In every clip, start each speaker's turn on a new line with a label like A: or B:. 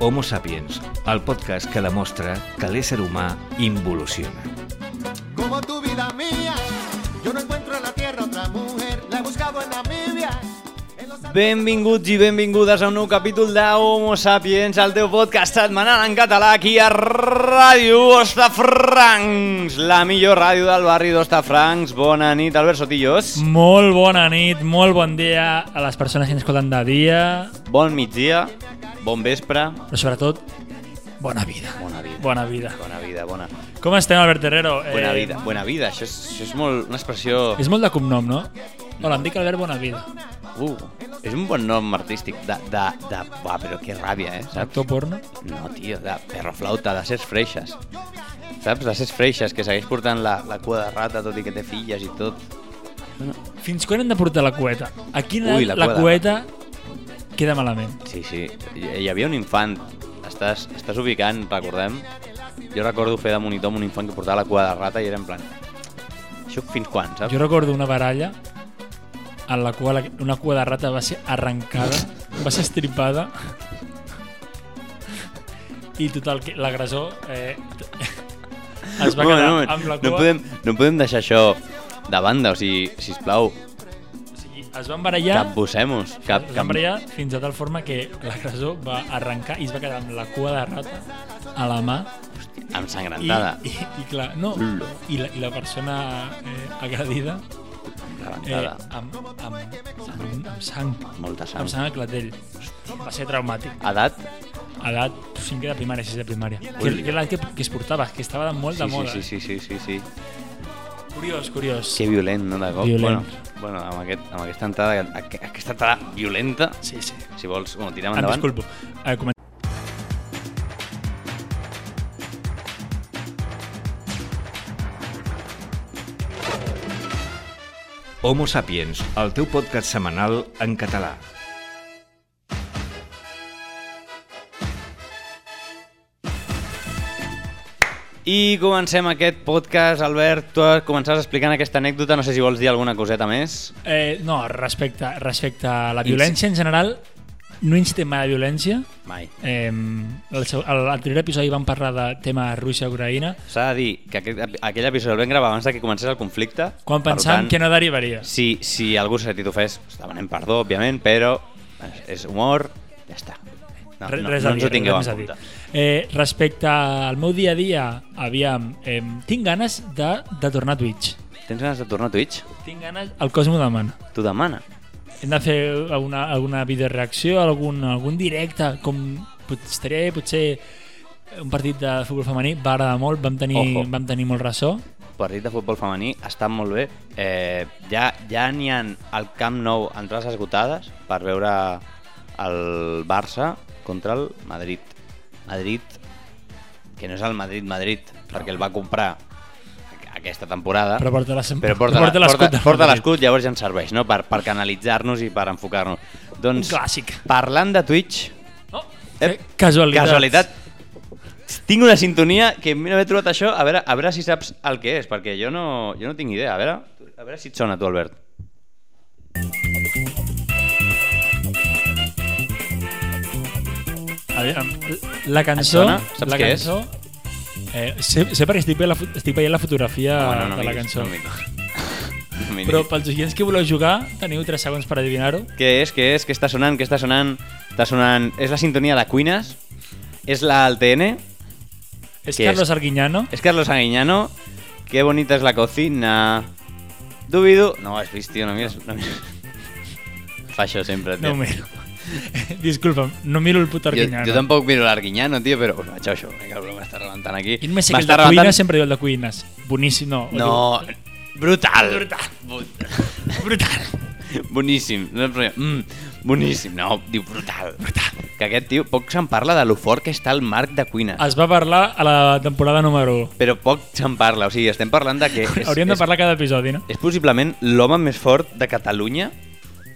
A: Homo Sapiens, el podcast que demostra que l'ésser humà involuciona.
B: Como tu vida mía, yo no encuentro en la tierra otra mujer. La he buscado en Namibia. En los
C: Benvinguts i benvingudes a un nou capítol de Homo Sapiens, el teu podcast setmanal en català aquí a Ràdio Ostafrancs, la millor ràdio del barri d'Ostafrancs. Bona nit, Albert Sotillos.
D: Molt bona nit, molt bon dia a les persones que ens escolten de dia,
C: Bon migdia, bon vespre,
D: però sobretot, bona vida.
C: bona vida.
D: Bona vida.
C: Bona vida, bona.
D: Com estem, Albert Terrero?
C: Bona vida, bona vida. Això és, això és molt, una expressió...
D: És molt de cognom, no? Hola, em dic Albert Bona Vida.
C: Uh, és un bon nom artístic de... de, de va, però que ràbia, eh? Saps?
D: Actor porno?
C: No, tio, de perro flauta, de ses freixes. Saps? De ses freixes, que segueix portant la, la cua de rata, tot i que té filles i tot.
D: Fins quan hem de portar la cueta? A quina
C: Ui, la
D: edat la,
C: cua
D: cueta queda malament?
C: Sí, sí. Hi, hi havia un infant. Estàs, estàs ubicant, recordem? Jo recordo fer de monitor amb un infant que portava la cua de rata i era en plan... Això fins quan, saps?
D: Jo recordo una baralla en la qual una cua de rata va ser arrencada, va ser estripada i total, que l'agressor eh, es va
C: Un moment,
D: quedar
C: un moment.
D: amb la cua
C: no, podem, no podem deixar això de banda, o sigui, sisplau,
D: o sigui, es van barallar
C: cap bussemos, cap,
D: es van
C: cap,
D: barallar fins a tal forma que l'agressor va arrencar i es va quedar amb la cua de rata a la mà i,
C: ensangrentada.
D: i, i clar, no
C: Ulo.
D: i la, i la persona eh, agredida eh,
C: Rebentada.
D: amb, amb, amb, amb, amb sang
C: Molta sang.
D: Em sembla que la tell. Va ser traumàtic.
C: Edat?
D: Edat 5 de primària, 6 de primària. Que,
C: Ui.
D: que, era la que, que es portava, que estava de molt de
C: sí,
D: moda.
C: sí, sí, sí, sí, sí.
D: eh? Curiós, curiós.
C: Que violent, no, de cop?
D: Violent.
C: Bueno, bueno amb, aquest, amb aquesta entrada, aqu- aquesta entrada violenta,
D: Sí, sí.
C: si vols, bueno, tirem
D: Em
C: endavant.
D: disculpo. Eh, comen-
A: Homo Sapiens, el teu podcast setmanal en català.
C: I comencem aquest podcast, Albert. Tu començaràs explicant aquesta anècdota, no sé si vols dir alguna coseta més.
D: eh, no, respecte, respecte a la violència en general, no incitem mai a la violència.
C: Mai.
D: Eh, el seu- a l'anterior episodi vam parlar de tema Rússia-Ucraïna,
C: S'ha de dir que aquest, aquell episodi el vam gravar abans de que comencés el conflicte.
D: quan
C: per
D: pensàvem
C: tant,
D: que no derivaria.
C: Si, si algú s'ha sentit ofès, demanem perdó, òbviament, però és- és humor, ja està. No,
D: Re-
C: no,
D: res
C: no
D: a
C: ens
D: dir,
C: ho tingueu
D: res
C: en
D: a dir.
C: compte.
D: Eh, respecte al meu dia a dia, aviam, eh, tinc ganes de, de tornar a Twitch.
C: Tens ganes de tornar a Twitch?
D: Tinc ganes, el cos m'ho demana.
C: Tu demana.
D: Hem de fer alguna, alguna videoreacció, algun, algun directe, com pot- estaria bé, potser un partit de futbol femení va agradar molt, vam tenir,
C: Ojo.
D: vam tenir molt ressò.
C: partit de futbol femení està molt bé. Eh, ja ja n'hi ha al Camp Nou entrades esgotades per veure el Barça contra el Madrid. Madrid, que no és el Madrid-Madrid, perquè el va comprar a- aquesta temporada.
D: Però porta les-
C: Ah. però porta,
D: porta l'escut
C: porta,
D: del
C: porta
D: Madrid.
C: l'escut, llavors ja ens serveix, no? Per, per canalitzar-nos i per enfocar-nos.
D: Un
C: Doncs,
D: clàssic.
C: parlant de Twitch,
D: Oh,
C: Ep,
D: eh, casualitat.
C: Casualitat. Tinc una sintonia que mira, m'he trobat això, a veure, a veure si saps el que és, perquè jo no, jo no tinc idea. A veure, a veure si et sona tu, Albert.
D: Aviam, La cançó...
C: Et sona? Saps
D: la
C: què és?
D: cançó, Eh, sé, sé perquè estic veient la, fo- estic veient la fotografia
C: Bueno, no
D: Ah, de la
C: miris,
D: cançó.
C: No miris. No miris.
D: Però pels oients que voleu jugar, teniu 3 segons per adivinar-ho.
C: Què és, què és, què està sonant, què està sonant? Està sonant... És la sintonia de Cuines? És la Altn?
D: És
C: Què
D: Carlos
C: és?
D: Arguiñano.
C: Es Carlos Aguiñano. Qué bonita es la cocina. Dubidu. No, es vist, tio, no mires. No mires. Fa això sempre, tio.
D: No ho miro. Disculpa'm, no miro el puto eh.
C: jo,
D: Arguiñano.
C: jo tampoc miro l'Arguiñano, tio, però us vaig a això. Me cago, m'està rebentant aquí.
D: Ell me sé que el de
C: rebentant-
D: cuines sempre diu el de cuines. Boníssim, no. ho
C: No, brutal.
D: Brutal.
C: Bu-
D: diu- Brutal.
C: Boníssim. No, però- Mm, boníssim, no, diu brutal. Brutal. Que aquest tio, poc se'n parla de lo fort que està el marc de cuina.
D: Es va parlar a la temporada número 1.
C: Però poc se'n parla, o sigui, estem parlant de que... És,
D: Hauríem de
C: és-
D: parlar cada episodi, no?
C: És possiblement l'home més fort de Catalunya.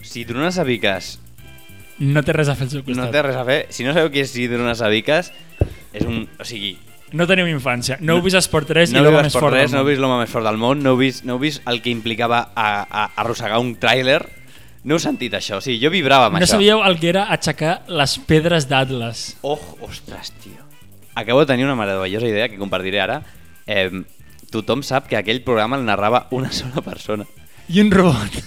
C: Si Druna Sabiques
D: No té res a fer al seu costat.
C: no té res a fer, si no sabeu qui és Druna Sabiques, és un... O sigui,
D: No teniu infància. No, heu vist Esport 3 i
C: no heu
D: l'home
C: vist
D: més
C: Esport
D: fort del
C: 3, no heu
D: món.
C: vist l'home més fort del món, no heu vist, no heu vist el que implicava a, a, arrossegar un tràiler, No heu sentit això, o sigui, jo vibrava amb
D: No
C: això.
D: sabíeu el que era aixecar les pedres d'Atlas.
C: Oh, ostres, tio. Acabo de tenir una meravellosa idea que compartiré ara. Eh, tothom sap que aquell programa el narrava una sola persona.
D: I un robot.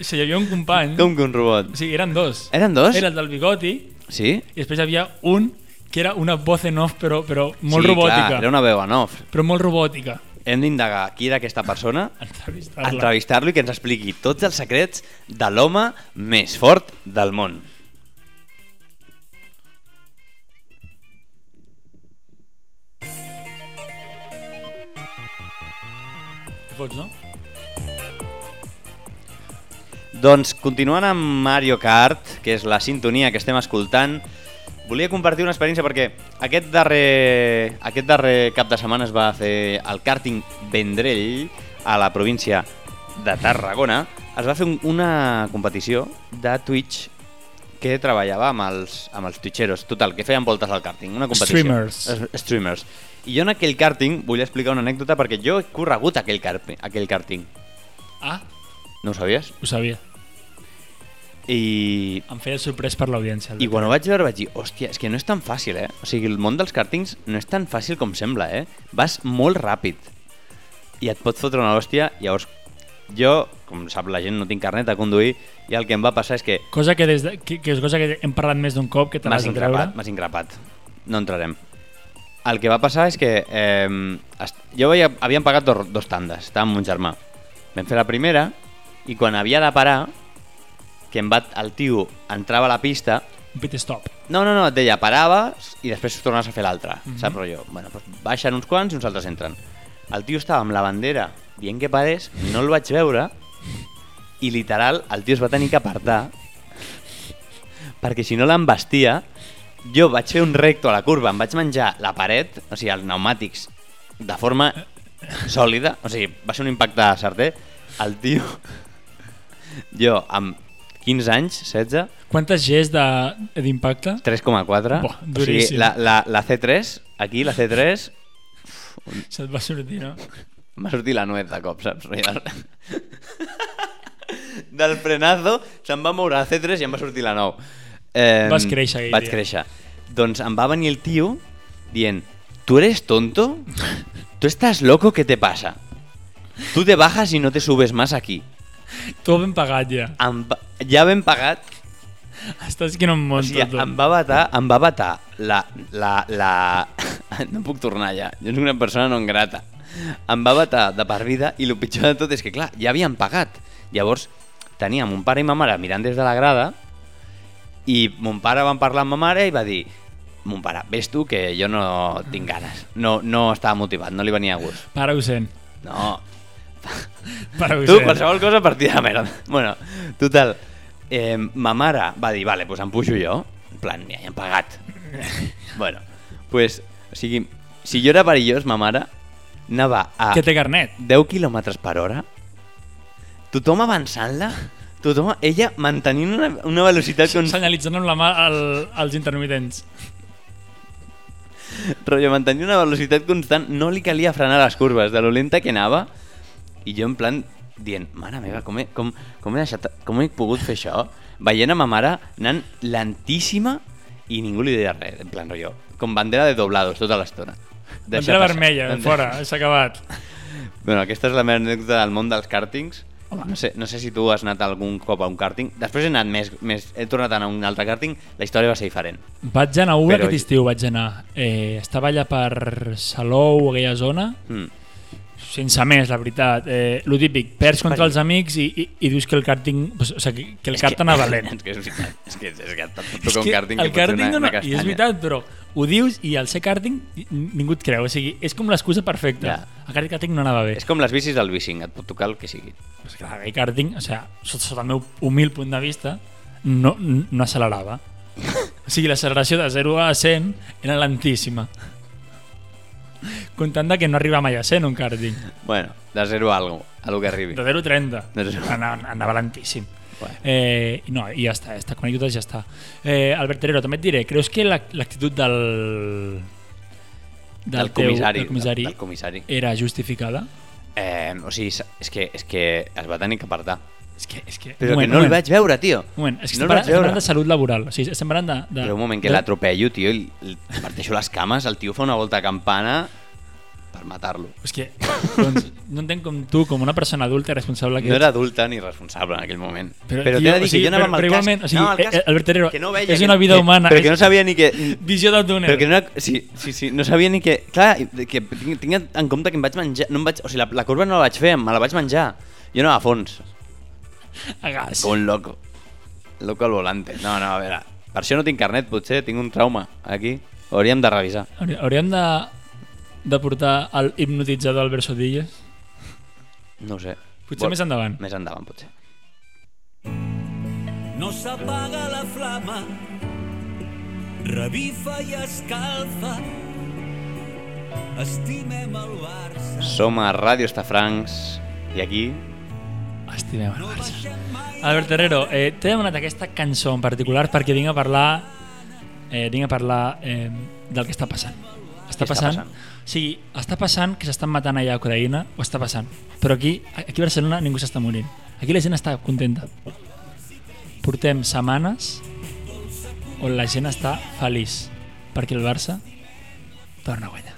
D: o sigui, hi havia un company.
C: Com que un robot.
D: O sigui, eren dos.
C: Eren dos?
D: Era el del bigoti
C: Sí?
D: i després hi havia un que era una voz en off, però, però molt
C: sí,
D: robòtica.
C: Clar, era una veu en off.
D: Però molt robòtica.
C: Hem d'indagar qui era aquesta persona,
D: Entrevistar-la.
C: entrevistar-lo i que ens expliqui tots els secrets de l'home més fort del món.
D: Fots, no?
C: Doncs continuant amb Mario Kart, que és la sintonia que estem escoltant, volia compartir una experiència perquè aquest darrer, aquest darrer cap de setmana es va fer el karting Vendrell a la província de Tarragona. Es va fer un, una competició de Twitch que treballava amb els, amb els twitcheros, total, que feien voltes al karting, una competició.
D: Streamers.
C: Es- Streamers. I jo en aquell karting, volia explicar una anècdota perquè jo he corregut aquell, karp- aquell karting.
D: Ah,
C: No ho sabies?
D: ho sabia.
C: I
D: Em feia sorprès per l'audiència.
C: I quan ho vaig veure vaig dir, hòstia, és que no és tan fàcil, eh? O sigui, el món dels càrtings no és tan fàcil com sembla, eh? Vas molt ràpid i et pot fotre una hòstia. Llavors, jo, com sap la gent, no tinc carnet de conduir i el que em va passar és que
D: Cosa que, des de, que, que és cosa que hem parlat més d'un cop, que te l'has de
C: M'has
D: treure.
C: ingrapat, m'has ingrapat. No entrarem. El que va passar és que eh, est- jo veia, havíem pagat dos, dos tandes, estava amb un germà. Vam fer la primera i quan havia de parar, que em va, el tio entrava a la pista
D: Un pit stop.
C: No, no, no, et deia, paraves i després tornaves a fer l'altra, mm -hmm. saps, rotllo? Bueno, doncs baixen uns quants i uns altres entren. El tio estava amb la bandera dient que parés, no el vaig veure i literal el tio es va tenir que apartar perquè si no l'embestia jo vaig fer un recto a la curva, em vaig menjar la paret, o sigui, els pneumàtics de forma sòlida, o sigui, va ser un impacte certer. El tio... Jo, amb 15 anys, 16,
D: Quantes Gs de- d'impacte?
C: 3,4.
D: Buah,
C: O sigui,
D: duríssim.
C: la, la, la C3, aquí, la C3,
D: Se't va sortir, no?
C: m'ha sortit la nuez de cop, saps? Del frenazo se'n va moure la C3 i em va sortir la 9. Eh,
D: Vas créixer aquell
C: Vaig
D: dia.
C: créixer. Doncs em va venir el tio dient, tu eres tonto? Tu estàs loco, què te passa? Tu te bajas i no te subes más aquí.
D: Tu ho ben pagat ja.
C: Em va... Ja ben pagat,
D: Estàs que no em
C: O
D: monto
C: sigui,
D: tot.
C: em va batar, em va batar la, la, la... No puc tornar ja, jo soc una persona non grata. Em va batar de per vida i el pitjor de tot és que, clar, ja havien pagat. Llavors, teníem un pare i ma mare mirant des de la grada i mon pare van parlar amb ma mare i va dir mon pare, ves tu que jo no tinc ganes. No, no estava motivat, no li venia a gust.
D: Para-ho sent.
C: No,
D: Para-ho
C: tu,
D: sent.
C: qualsevol cosa, partida de merda. Bueno, total. Eh, ma mare va dir, vale, pues em pujo jo. En plan, ja hi han pagat. bueno, pues, o sigui, si jo era perillós, ma mare anava a
D: Que té carnet.
C: 10 km per hora, tothom avançant-la, tothom, ella mantenint una, una velocitat
D: Són...
C: con...
D: Senyalitzant amb la mà el, els intermitents.
C: rotllo, mantenir una velocitat constant, no li calia frenar les curves, de lo lenta que anava, i jo en plan dient, mare meva, com he, com, com he, deixat, com he pogut fer això? Veient a ma mare anant lentíssima i ningú li deia res, en plan rotllo, com bandera de doblados tota l'estona.
D: Bandera
C: Deixar passar. Doncs
D: vermella,
C: Bandera-
D: fora, s'ha acabat.
C: Bueno, aquesta és la meva anècdota del món dels càrtings. No sé, no sé si tu has anat algun cop a un càrting. Després he anat més, més... He tornat a anar a un altre càrting, la història va ser diferent.
D: Vaig anar a una
C: Però-
D: aquest estiu, vaig anar. Eh, estava allà per Salou, aquella zona,
C: Mm.
D: sense més, la veritat. Eh, lo típic, perds contra els amics i, i, i dius que el càrting... pues, O sigui, que, que el càrt anava lent.
C: És que és veritat. És que, és que tant
D: És
C: toca un
D: que
C: càrting que
D: el
C: pot ser
D: càrting
C: una,
D: no-
C: una
D: I
C: castanya.
D: és veritat, però ho dius i al ser càrting n- ningú et creu. O sigui, és com l'excusa perfecta.
C: Ja.
D: El càrting, càrting no anava bé.
C: És com les bicis del bicing, et pot tocar el que sigui.
D: Pues clar, el karting, o sea, sota, sota el meu humil punt de vista, no, no accelerava. O sigui, l'acceleració de 0 a 100 era lentíssima. Comptant de que no arriba mai a 100 un karting.
C: Bueno, de zero a algo, a lo que arribi.
D: De 0 a 30.
C: De 0.
D: Anava, anava lentíssim.
C: Bueno.
D: Eh, i no, i ja està, ja està, com anècdotes ja està. Eh, Albert Terero, també et diré, creus que la- l'actitud del...
C: Del
D: teu-
C: comissari.
D: del comissari,
C: Del, del comissari.
D: era justificada?
C: Eh, o sigui, és que, és que es va tenir que apartar.
D: És que, és que... un
C: Però que
D: moment,
C: no
D: un
C: el
D: moment.
C: vaig veure, tio.
D: Un moment, és que
C: No
D: no estem, parlant,
C: el vaig
D: estem
C: veure.
D: parlant de salut laboral. O sigui, estem parlant de... de
C: Però un moment, que
D: de...
C: l'atropello, tio, i li li parteixo les cames, el tio fa una volta a campana per matar-lo.
D: És que, doncs, no entenc com tu, com una persona adulta i responsable que
C: No era adulta ni responsable en aquell moment.
D: Però,
C: Però, però
D: tio,
C: t'he de
D: o
C: dir que
D: sigui,
C: jo anava
D: però-
C: amb el
D: però igualment,
C: casc.
D: o sigui,
C: Anava amb el
D: eh, eh, Albert Terrero,
C: que no veia
D: és
C: que-
D: una vida
C: que-
D: humana,
C: Però que
D: és-
C: no sabia ni que...
D: Visió del túnel.
C: Però que no era... Sí, sí, sí, no sabia ni que... Clar, que tinc- tinc en compte que em vaig menjar... No em vaig, o sigui, la, la corba no la vaig fer, me la vaig menjar. Jo anava a fons,
D: A gas.
C: com un loco. Loco al volante. No, no, a veure. Per això no tinc carnet, potser. Tinc un trauma aquí. Ho hauríem de revisar.
D: Hauri- Hauríem de, de portar el hipnotitzador al Versodilles?
C: No ho sé.
D: Potser més endavant.
C: Més endavant, potser.
E: no s'apaga la flama, revifa i escalfa. Estimem el Barça.
C: Som a Ràdio Estafrancs i aquí...
D: Estimem el Barça. Albert Herrero, eh, t'he demanat aquesta cançó en particular perquè vinc a parlar eh, vinc a parlar eh, del que està passant. Està
C: Què està
D: passant?
C: passant?
D: O sigui, està passant que s'estan matant allà a Ucraïna, ho està passant. Però aquí, aquí a Barcelona ningú s'està morint. Aquí la gent està contenta. Portem setmanes on la gent està feliç perquè el Barça torna a guanyar.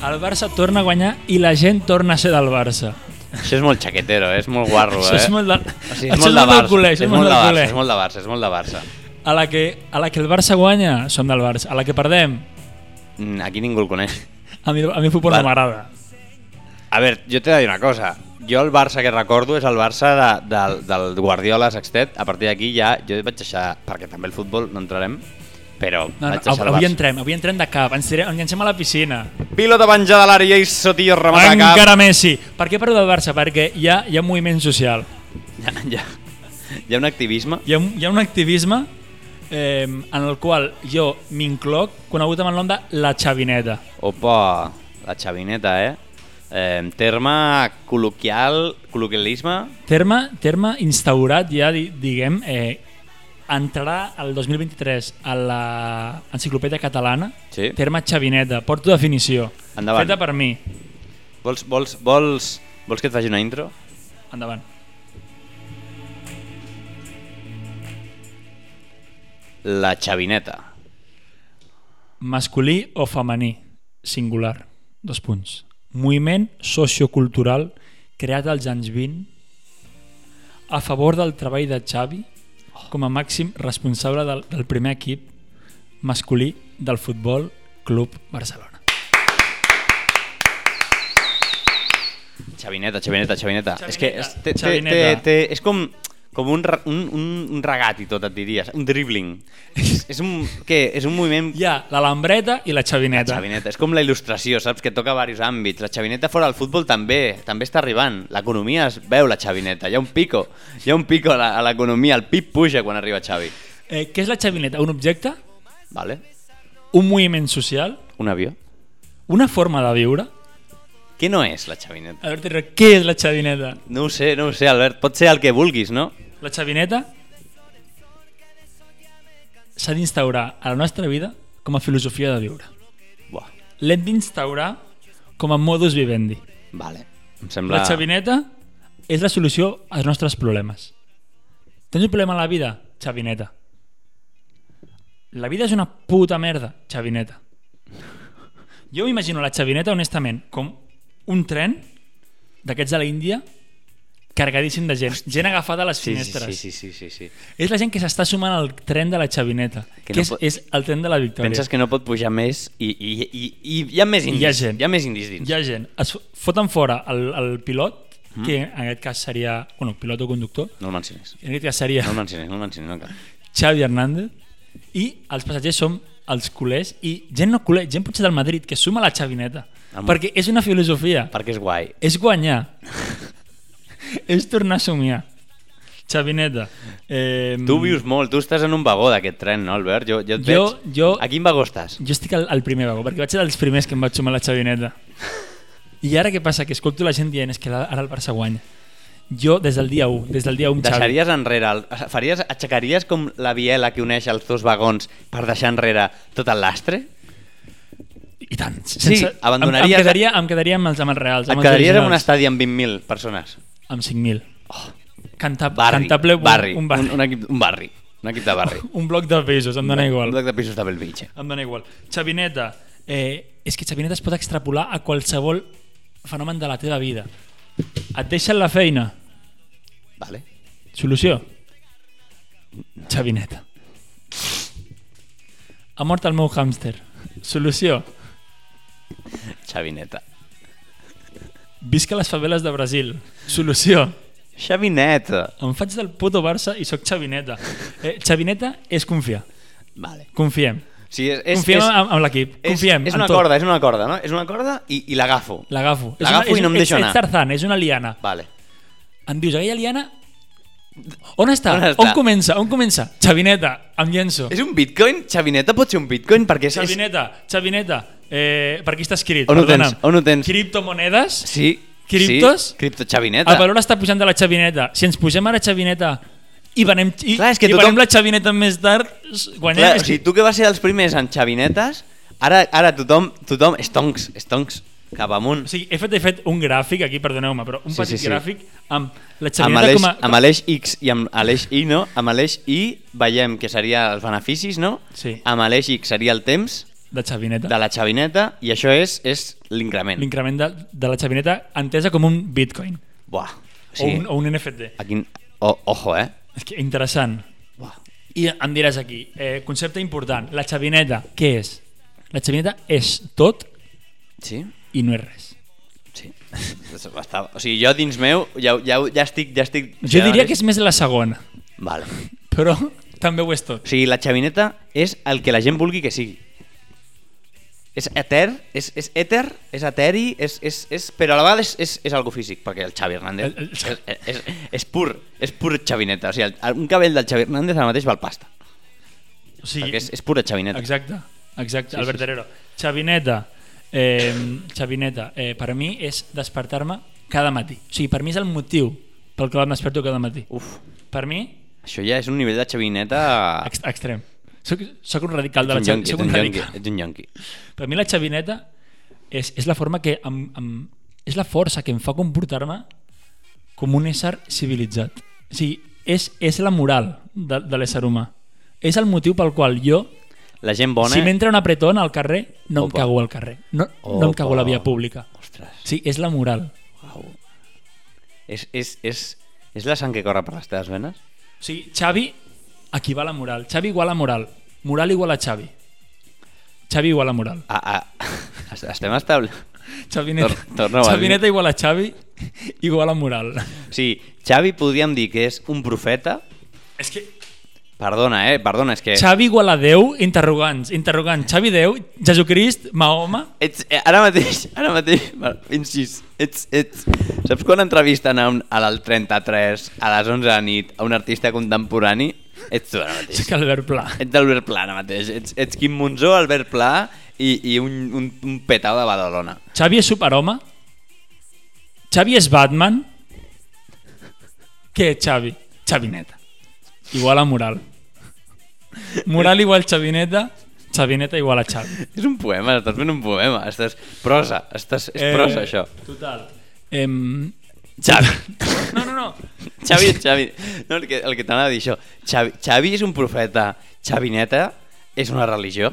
D: El Barça torna a guanyar i la gent torna a ser del Barça.
C: Això és molt xaquetero, eh? és molt guarro,
D: Això
C: eh?
D: és molt de,
C: O sigui,
D: això
C: és molt de Barça,
D: culer, això
C: és molt de Barça,
D: culer.
C: és molt de Barça, és molt de Barça.
D: A la, que, a la que el Barça guanya, som del Barça. A la que perdem,
C: Mm, Aquí ningú el coneix.
D: a mi, a mi el futbol
C: Val.
D: no m'agrada.
C: A veure, jo t'he de dir una cosa. Jo el Barça que recordo és el Barça de, del, del Guardiola Sextet. A partir d'aquí ja jo vaig deixar, perquè també el futbol no entrarem, però
D: No, no,
C: vaig deixar el
D: avui
C: Barça.
D: entrem, avui entrem de cap, ens, tirem, ens llancem a la piscina.
C: Pilota penjada a l'àrea i Sotillo remata de cap.
D: Encara Messi. Per què parlo del Barça? Perquè hi ha, hi ha moviment social.
C: Ja, ja. Hi ha un activisme.
D: Hi ha, un- hi ha un activisme eh, en el qual jo m'incloc, conegut amb el nom de La Xavineta.
C: Opa, la xavineta, eh? eh terme col·loquial, col·loquialisme,
D: Terme, terme instaurat ja, di- diguem, eh, entrarà el 2023 a l'enciclopèdia catalana,
C: Sí.
D: terme xavineta, porto definició,
C: Endavant.
D: feta per mi.
C: Vols, vols, vols, vols que et faci una intro?
D: Endavant.
C: La xavineta.
D: Masculí o femení, singular, dos punts. Moviment sociocultural creat als anys 20 a favor del treball de Xavi com a màxim responsable del, del primer equip masculí del Futbol Club Barcelona.
C: Xavineta, xavineta, xavineta.
D: Xavineta,
C: És que és, té, té,
D: xavineta.
C: té, té, és com, com un, re- un, un, un regat i tot, et diries. Un dribbling. és, és, un, què? és un moviment...
D: Hi ha la lambreta i la xavineta.
C: Xavineta. És com la il·lustració, saps? Que toca diversos àmbits. La xavineta fora del futbol també també està arribant. L'economia es veu, la xavineta. Hi ha un pico. Hi ha un pico a la- a l'economia. El PIB puja quan arriba Xavi.
D: Eh, què és la xavineta? Un objecte?
C: Vale?
D: Un moviment social?
C: Un avió.
D: Una forma de viure?
C: Què no és la xavineta?
D: Albert Herrero, què és la xavineta?
C: No ho sé, no ho sé, Albert. Pot ser el que vulguis, no?
D: La xavineta s'ha d'instaurar a la nostra vida com a filosofia de viure.
C: Buah.
D: L'hem d'instaurar com a modus vivendi.
C: Vale. Em sembla...
D: La xavineta és la solució als nostres problemes. Tens un problema a la vida? Xavineta. La vida és una puta merda? Xavineta. Jo m'imagino la xavineta, honestament, com un tren d'aquests de l'Índia cargadíssim de gent, gent agafada a les
C: Sí,
D: finestres.
C: sí, sí, sí, sí, sí.
D: És la gent que s'està sumant al tren de la xavineta, que,
C: Que no
D: és,
C: pot-
D: és el tren de la victòria.
C: Penses que no pot pujar més i, i, i, i hi ha més
D: I
C: indis.
D: hi ha gent.
C: Hi ha més indis dins.
D: Hi ha gent, es foten fora el, el pilot, que
C: Mm-hmm.
D: en aquest cas seria, bueno, pilot o conductor,
C: No el menciones.
D: en aquest cas seria
C: No el menciones, no el menciones. No cal.
D: Xavi Hernández, i els passatgers som els culers i gent no culer, gent potser del Madrid, que suma la xavineta.
C: Am-
D: Perquè és una filosofia,
C: Perquè és guai.
D: és guanyar, és tornar a somiar. Xavineta. Eh,
C: Tu vius molt, tu estàs en un vagó d'aquest tren, no, Albert? Jo, jo et
D: Jo-
C: veig.
D: jo-
C: A quin vagó estàs?
D: Jo estic al, al primer vagó, perquè vaig ser dels primers que em vaig sumar a la xavineta. I ara què passa? Que escolto la gent dient és que la- ara el Barça guanya. Jo, des del dia 1, des del dia 1, Xavi.
C: Deixaries enrere, el, faries, aixecaries com la biela que uneix els dos vagons per deixar enrere tot el lastre?
D: I tant.
C: Sí, abandonaries-
D: Em, em, quedaria, em quedaria amb els, amb els reals.
C: Et
D: Amb
C: quedaries
D: els
C: en un
D: originals.
C: estadi amb 20.000 persones.
D: Amb 5.000. Oh. Canta,
C: Barri.
D: cantable, un,
C: barri.
D: un barri.
C: Un, un, equip, un barri. Un equip de barri.
D: un bloc de pisos, em dóna
C: Un
D: igual.
C: bloc de pisos de Belvitge.
D: Em dóna igual. Xavineta. Eh, és que Xavineta es pot extrapolar a qualsevol fenomen de la teva vida. Et deixen la feina.
C: Vale.
D: Solució. Xavineta. Ha mort el meu hàmster. Solució.
C: Xavineta.
D: Visca les faveles de Brasil. Solució.
C: Xavineta.
D: Em faig del puto Barça i sóc Xavineta. Eh, Xavineta és confiar.
C: Vale.
D: Confiem.
C: Sí, és, és,
D: Confiem
C: és,
D: en, en l'equip. Confiem.
C: És, és una
D: en tot.
C: corda, és una corda, no? És una corda i, i l'agafo.
D: L'agafo. És
C: L'agafo
D: una-
C: i
D: és
C: no em
D: un-
C: deixo
D: ets-
C: anar.
D: Ets Tarzan, és una liana.
C: Vale.
D: Em dius, aquella liana... On està?
C: On
D: On,
C: està?
D: comença? On comença? Xavineta, em llenço.
C: És un bitcoin? Xavineta pot ser un bitcoin? Perquè és, és...
D: Xavineta, Xavineta, eh, per aquí està escrit.
C: On ho
D: perdona'm.
C: tens? On ho tens?
D: Criptomonedes?
C: Sí.
D: Criptos? Ah,
C: Sí. Cripto Xavineta.
D: El valor està pujant de la xavineta. Si ens pugem ara xavineta i, venem, i,
C: Clar, és que
D: i
C: tothom-
D: venem la xavineta més tard, s- guanyem...
C: Clar,
D: és
C: o sigui,
D: que-
C: tu que vas ser dels primers en xavinetes, ara, ara tothom, tothom, estoncs, estoncs, cap amunt.
D: o sigui, he, fet, he fet un gràfic aquí, perdoneu-me, però un
C: Sí,
D: petit
C: sí, sí.
D: gràfic amb la
C: Amb
D: xavineta
C: Aleix,
D: com a...
C: amb Aleix X i amb Aleix Y, no? Amb Aleix Y veiem que seria els beneficis, no?
D: Sí.
C: Amb Aleix X seria el temps
D: De xavineta.
C: de la xavineta i això és, és l'increment.
D: L'increment de, de la xavineta entesa com un bitcoin
C: Buah.
D: o, un, o un NFT.
C: A quin... O, ojo, eh?
D: És que interessant.
C: Buah.
D: I em diràs aquí, eh, concepte important, la xavineta, què és? La xavineta és tot
C: Sí?
D: i no és res.
C: Sí. Està, o sigui, jo dins meu ja, ja, ja estic... Ja eh. estic
D: Jo diria que és més la segona,
C: Vale.
D: però també ho és tot.
C: O sigui, la xavineta és el que la gent vulgui que sigui. És eter, és, és èter, és eteri, és, és, és, però a la vegada és, és, és algo físic, perquè el Xavi Hernández
D: El- el-
C: és, és, és, pur, és pur xavineta. O sigui, el, un cabell del Xavi Hernández ara mateix val pasta,
D: O sigui,
C: perquè és, és pura xavineta.
D: Exacte, exacte, sí,
C: Sí, sí,
D: Albert
C: sí.
D: Herrero. Xavineta, eh, Xavineta, eh, per a mi és despertar-me cada matí. O sigui, per mi és el motiu pel qual em desperto cada matí.
C: Uf,
D: Per mi,
C: això ja és un nivell de xavineta...
D: ex extrem. Soc, soc un radical de
C: Ets
D: la
C: un yonqui,
D: xavineta. Soc
C: ets un
D: un
C: yonqui,
D: radical.
C: ets un yonqui.
D: Per mi la xavineta és, és la forma que em, em, és la força que em fa comportar-me com un ésser civilitzat. O sigui, és, és la moral de, de l'ésser humà. És el motiu pel qual jo,
C: La gent bona... eh?
D: si m'entra una pretona al carrer, no
C: Opa.
D: em cago al carrer. No, no em cago a la
C: Opa.
D: via pública.
C: Ostres,
D: Sí, és la moral.
C: uau. És, és, és, és la sang que corre per les teves venes?
D: O sigui, Xavi equival a moral. Xavi igual a moral. Moral igual a Xavi. Xavi igual a moral.
C: A, a, estem estable...
D: Xavineta,
C: Tor- torna-ho a dir.
D: Xavineta igual a Xavi igual a moral.
C: O sigui, Xavi podríem dir que és un profeta...
D: És que
C: Perdona, eh? Perdona, és que...
D: Xavi igual a Déu, interrogants, interrogants. Xavi Déu, Jesucrist, Mahoma...
C: Ets, eh, ara mateix, ara mateix, va, incís, ets, ets... Saps quan entrevisten a, un, a l'al 33 a les 11 de la nit a un artista contemporani? Ets tu ara mateix.
D: És que Albert Pla.
C: Ets d'Albert Pla ara mateix. Ets, ets Quim Monzó, Albert Pla i, i un, un, un petau de Badalona.
D: Xavi és superhome? Xavi és Batman? Què és Xavi? Xavineta. Igual a Moral. Moral igual Xavineta, Xavineta igual a Xavi.
C: És un poema, estàs fent un poema. Estàs prosa, estàs, és
D: Eh.
C: prosa, això.
D: Total. Em...
C: Xavi.
D: No, no, no.
C: Xavi, Xavi, no, el que, el que t'anava a dir això. Xavi, Xavi és un profeta, Xavineta és una religió.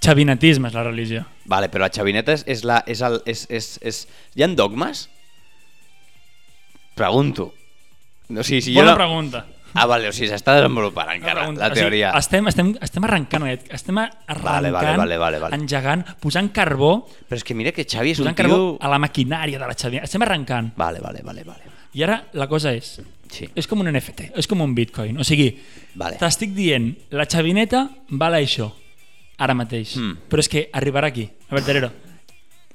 D: Xavinetisme és la religió.
C: Vale, però la Xavineta és, és la... És el, és, és, és... Hi ha dogmes? Pregunto. No, o sigui, si
D: Bona
C: jo no...
D: pregunta.
C: Ah, vale, o sigui, s'està desenvolupant
D: Una
C: encara
D: pregunta.
C: la teoria.
D: O sigui, estem, estem, estem arrencant, aquest- estem arrencant,
C: Vale, vale, vale, vale, vale.
D: engegant, posant carbó,
C: Però és que mira que Xavi és un
D: posant carbó
C: tio...
D: a la maquinària de la Xavier. Estem arrencant.
C: Vale, vale, vale, vale.
D: I ara la cosa és,
C: Sí.
D: és com un NFT, és com un bitcoin. O sigui,
C: Vale.
D: t'estic dient, la xavineta val això, ara mateix.
C: Mm.
D: Però és que arribarà aquí, a veure, Terero.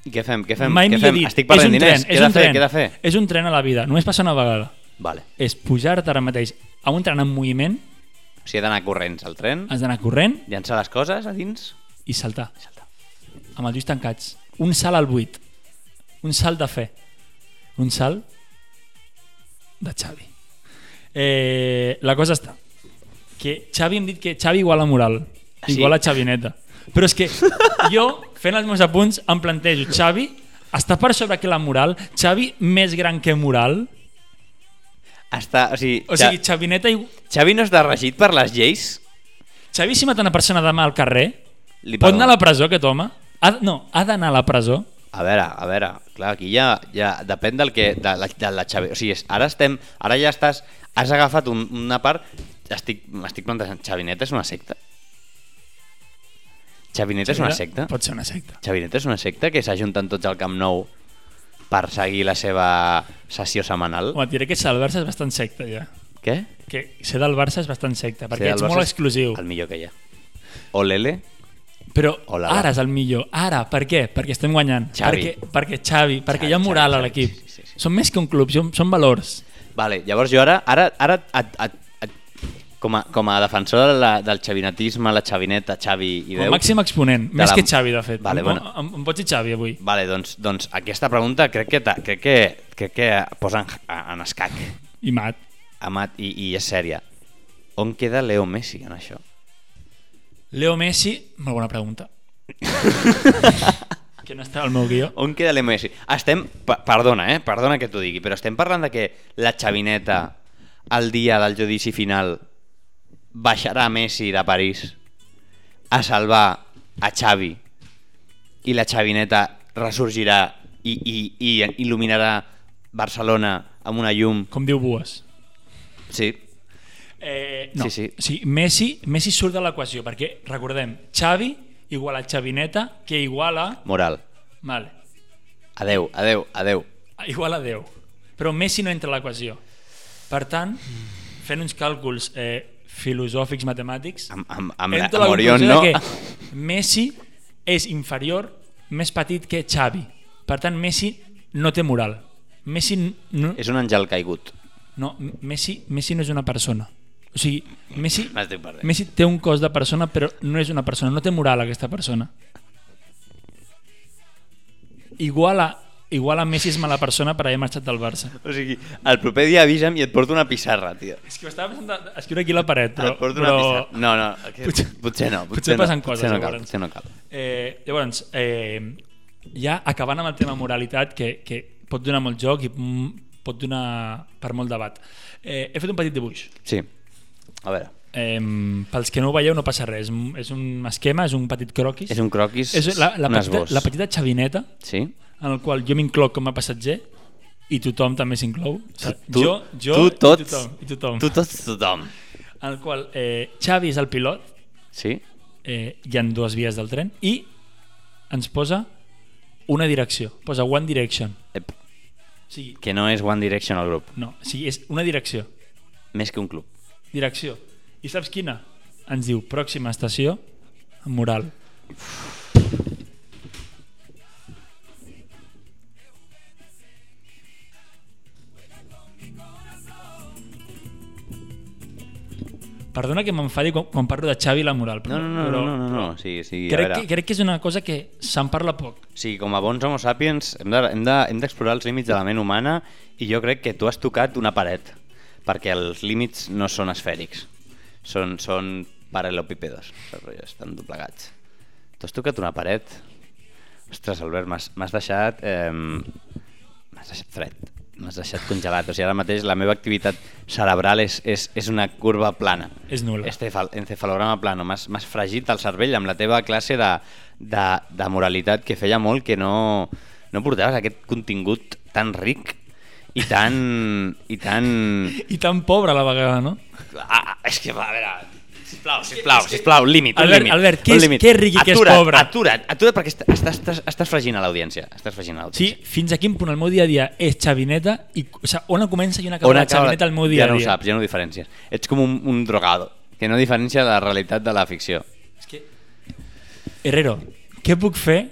C: I què fem? Què fem?
D: Mai
C: què
D: millor
C: fem?
D: dit, és
C: Estic perdent
D: un
C: diners.
D: tren,
C: Què he
D: és
C: de
D: un
C: fer?
D: tren,
C: Què he de fer?
D: és un tren a la vida, només passa una vegada.
C: Vale.
D: És pujar-te ara mateix a un tren en moviment,
C: O sigui, he d'anar corrents al tren,
D: has d'anar corrent
C: llançar les coses a dins...
D: i saltar. Amb els ulls tancats. Un salt al buit. Un salt de fe. Un salt de Xavi. Eh, la cosa està que Xavi hem dit que Xavi igual a moral.
C: Ah, Sí.
D: Igual a Xavineta. Però és que jo, fent els meus apunts, em plantejo, Xavi està per sobre que la moral, Xavi més gran que moral,
C: Està, o sigui,
D: o sigui, Xavineta i...
C: Xavi no està regit per les lleis?
D: Xavi si mata una persona demà al carrer,
C: Li
D: pot
C: perdona.
D: anar a la presó aquest home? Ha, no, ha d'anar a la presó.
C: A veure, a veure, clar, aquí ja, ja depèn del que, de, la, de la Xavi... O sigui, és- ara estem, ara ja estàs, has agafat un, una part, estic, m'estic plantejant, Xavineta és una secta? Xavineta és una secta?
D: Pot ser una secta.
C: Xavineta és una secta que s'ajunten tots al Camp Nou per seguir la seva sessió setmanal?
D: Home, et diré que ser del Barça és bastant secta, ja.
C: Què?
D: Que ser del Barça és bastant secta, perquè
C: Ser del
D: ets
C: Barça
D: molt
C: és
D: exclusiu.
C: El millor que hi ha. O l'Ele?
D: Però
C: O la-
D: ara és el millor. Ara, per què? Perquè estem guanyant.
C: Xavi.
D: Perquè, perquè Xavi, perquè hi
C: Xavi,
D: ha moral a
C: Xavi, Xavi,
D: l'equip.
C: sí, sí, sí.
D: Són més que un club, són, són valors.
C: Vale, llavors jo ara, ara, ara et, et, et, com, a, com a defensor de la, del xavinetisme, la xavineta, Xavi i
D: El
C: Déu...
D: màxim exponent,
C: De
D: més
C: la-
D: que Xavi, de fet.
C: Vale,
D: em,
C: bueno.
D: em, em pots dir Xavi avui?
C: Vale, doncs, doncs aquesta pregunta crec que, ta- crec que, crec que posa en, en escac
D: I Mat.
C: Amat, i, i és sèria. On queda Leo Messi en això?
D: Leo Messi, molt bona pregunta. que no està al meu guió.
C: On queda Leo Messi? Estem, pe- perdona, eh? perdona que t'ho digui, però estem parlant de que la xavineta el dia del judici final baixarà Messi de París a salvar a Xavi i la xavineta ressorgirà i, i, i il·luminarà Barcelona amb una llum.
D: Com diu Bues.
C: Sí,
D: Eh, no.
C: Sí, sí.
D: Messi, Messi surt de l'equació, perquè, recordem, Xavi igual a Xavineta, que igual a...
C: moral.
D: Vale,
C: Adeu, adeu, adeu.
D: igual a 10. Però Messi no entra a l'equació. Per tant, fent uns càlculs eh, filosòfics, matemàtics,
C: Amb, amb, amb,
D: entro
C: amb
D: a la
C: Orion
D: conclusió
C: no.
D: de que Messi és inferior, més petit que Xavi. Per tant, Messi no té moral. Messi n- no,
C: És un àngel caigut.
D: no, Messi, Messi no és una persona. O sigui, Messi,
C: M'estic perdent.
D: Messi té un cos de persona, però no és una persona. No té moral aquesta persona. Igual a, igual a Messi és mala persona per haver marxat del Barça.
C: O sigui, el proper dia avisa'm i et porto una pissarra, tio.
D: És que ho estava pensant d'escriure aquí a la paret, però...
C: et porto
D: però...
C: una pissarra. No, no, aquest, potser,
D: Potser-
C: potser no.
D: potser passen
C: no,
D: coses,
C: Potser no cal,
D: llavors.
C: potser no cal.
D: Eh, llavors, eh, ja acabant amb el tema moralitat, que, que pot donar molt joc i mm, pot donar per molt debat. Eh, he fet un petit dibuix.
C: Sí. A veure,
D: Eh, pels que no ho veieu no passa res. Mm, És un esquema, és un petit croquis.
C: és un croquis,
D: és la, la,
C: un
D: petita,
C: esbós.
D: la petita xavineta
C: Sí?
D: en el qual jo m'incloc com a passatger i tothom també s'inclou. O sigui,
C: Tu-
D: jo, jo
C: tu tots,
D: i tothom. I tothom.
C: Tu tots, tothom.
D: En el qual eh, Xavi és el pilot,
C: Sí?
D: eh, hi han dues vies del tren i ens posa una direcció, posa One Direction.
C: Ep,
D: O sigui,
C: que no és One Direction al grup.
D: no, o sigui, és una direcció,
C: Més que un club.
D: direcció. I saps quina? Ens diu pròxima estació, Moral. Perdona que m'enfadi quan, quan parlo de Xavi i la moral,
C: No,
D: però,
C: no, no,
D: però
C: no, no, no, no. O sigui, o sigui, a
D: crec,
C: veure...
D: que, crec que és una cosa que se'n parla poc.
C: O sigui, com a bons homo sapiens hem de- hem de- hem d'explorar de, els límits de la ment humana i jo crec que tu has tocat una paret perquè els límits no són esfèrics són, són paral·lelopipedos però ja estan doblegats tu has tocat una paret ostres Albert, m'has m'has deixat eh, m'has deixat fred m'has deixat congelat, o sigui ara mateix la meva activitat cerebral és, és, és una curva plana
D: És nul·la.
C: Estefal, encefalograma plano, m'has m'has fregit el cervell amb la teva classe de, de, de moralitat que feia molt que no, no portaves aquest contingut tan ric i tan... i tan...
D: I tan pobre a la vegada, no?
C: Ah, ah, és que, va, a veure... Sisplau, sisplau, sisplau, límit, un
D: Albert,
C: límit.
D: Albert, què
C: un
D: és-
C: límit.
D: què és ric i què és
C: Atura't,
D: pobre?
C: Atura't, atura't perquè est- estàs, estàs, estàs fregint a l'audiència. Estàs fregint a
D: Sí,
C: l'audiència.
D: fins a quin punt el meu dia a dia és xavineta i, o sigui, on comença i on acaba
C: On
D: la
C: acaba-
D: xavineta el meu dia
C: Ja
D: a
C: no ho
D: dia.
C: saps, ja no ho diferències. Ets com un, un drogado, que no diferencia la realitat de la ficció.
D: És que... Herrero, què puc fer?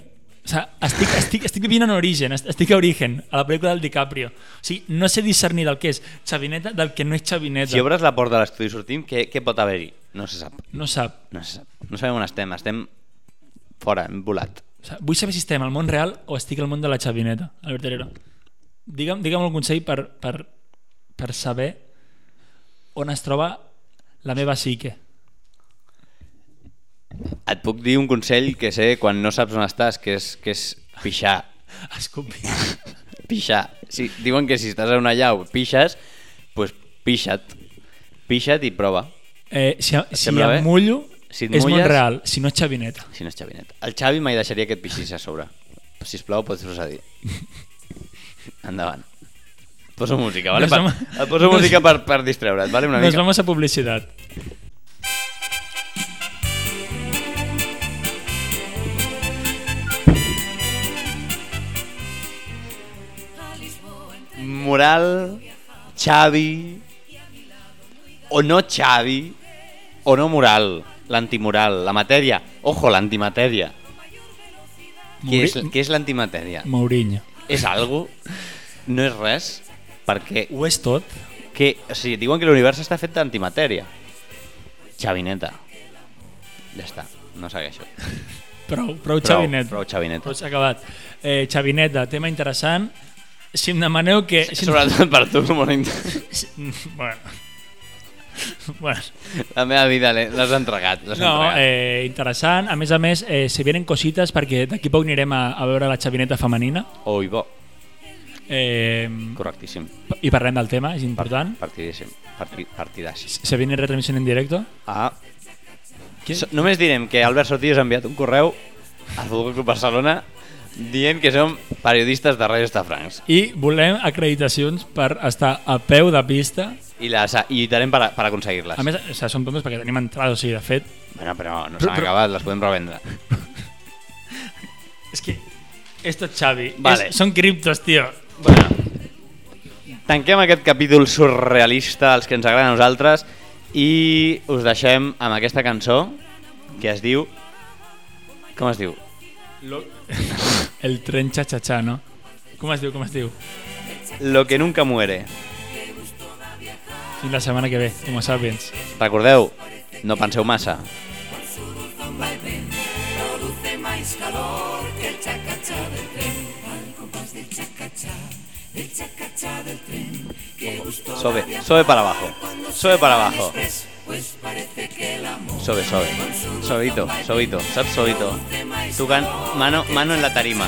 D: O sigui, estic, estic, estic vivint en origen, est- estic a origen, a la pel·lícula del DiCaprio. O sigui, no sé discernir del que és xavineta del que no és xavineta.
C: Si obres la porta de l'estudi i sortim, què, què pot haver-hi? No se sap,
D: No sap.
C: no se sap. No sabem on estem, estem fora, hem volat.
D: O sigui, vull saber si estem al món real o estic al món de la xavineta, Albert Herrero. Digue'm, digue'm un consell per, per, per saber on es troba la meva psique.
C: Et puc dir un consell que sé quan no saps on estàs, que és, que és pixar.
D: Escupi.
C: Pixar. Si, diuen que si estàs en una llau pixes, doncs pixa't. Pixa't i prova.
D: Eh, si, si
C: sembla bé?
D: em mullo,
C: Si et
D: és
C: mulles-
D: molt real. Si no és xavineta.
C: Si no és Xavinet. El Xavi mai deixaria que et pixis a sobre. Si us plau, pots procedir. Endavant. Et Poso música, vale?
D: Nos
C: Per,
D: vamos-
C: et poso
D: nos-
C: música per, per distreure't, vale? Una
D: Nos
C: mica.
D: vamos a publicitat.
C: Moral, Xavi, o no Xavi, o no moral, l'antimoral, la matèria. Ojo, l'antimatèria. Què és, què és l'antimatèria?
D: Mourinho.
C: És algo? No és res? Perquè
D: Ho és tot?
C: que, o sigui, diuen que l'univers està fet d'antimatèria. Xavineta. Ja està, no segueixo.
D: Prou, prou, xavineta.
C: Prou
D: Però
C: xavineta.
D: s'ha acabat. Eh, Xavineta, tema interessant. Si em demaneu que... Si
C: Sobretot per tu, molt inter-
D: Si, bueno. bueno.
C: la meva vida l'he- l'has entregat. L'has
D: No,
C: entregat.
D: eh, interessant. A més a més, eh, se vienen cosites perquè d'aquí a poc anirem a, a veure la xavineta femenina
C: Oi, bo,
D: eh,
C: correctíssim,
D: i parlem del tema, és important.
C: partidíssim, Parti, partidàs.
D: Se viene retransmisión en directo.
C: Ah,
D: Qui-
C: so, només direm que Albert Sotillo ha enviat un correu al Futbol Club Barcelona dient que som periodistes de Ràdio Estafrancs
D: I volem acreditacions per estar a peu de pista.
C: i, les, i lluitarem per, a- per aconseguir-les.
D: A més, o sigui, som tontos perquè tenim entrada, o sigui, de fet...
C: Bueno, però no
D: Però-
C: s'han
D: però-
C: acabat, les podem revendre.
D: És que... Esto es Xavi.
C: Vale.
D: És, són criptos, tio.
C: Bueno, tanquem aquest capítol surrealista, els que ens agraden a nosaltres, i us deixem amb aquesta cançó que es diu... Com es diu?
D: El tren xatxatxà, no? Com es diu, com es diu?
C: Lo que nunca muere.
D: Fins la setmana que ve, com a sapiens.
C: Recordeu, no penseu massa. Sobe, sobe para abajo, sobe para abajo. Sobe, sobe. Sobito, sobito, sab sobito. Tu can- mano, mano en la tarima.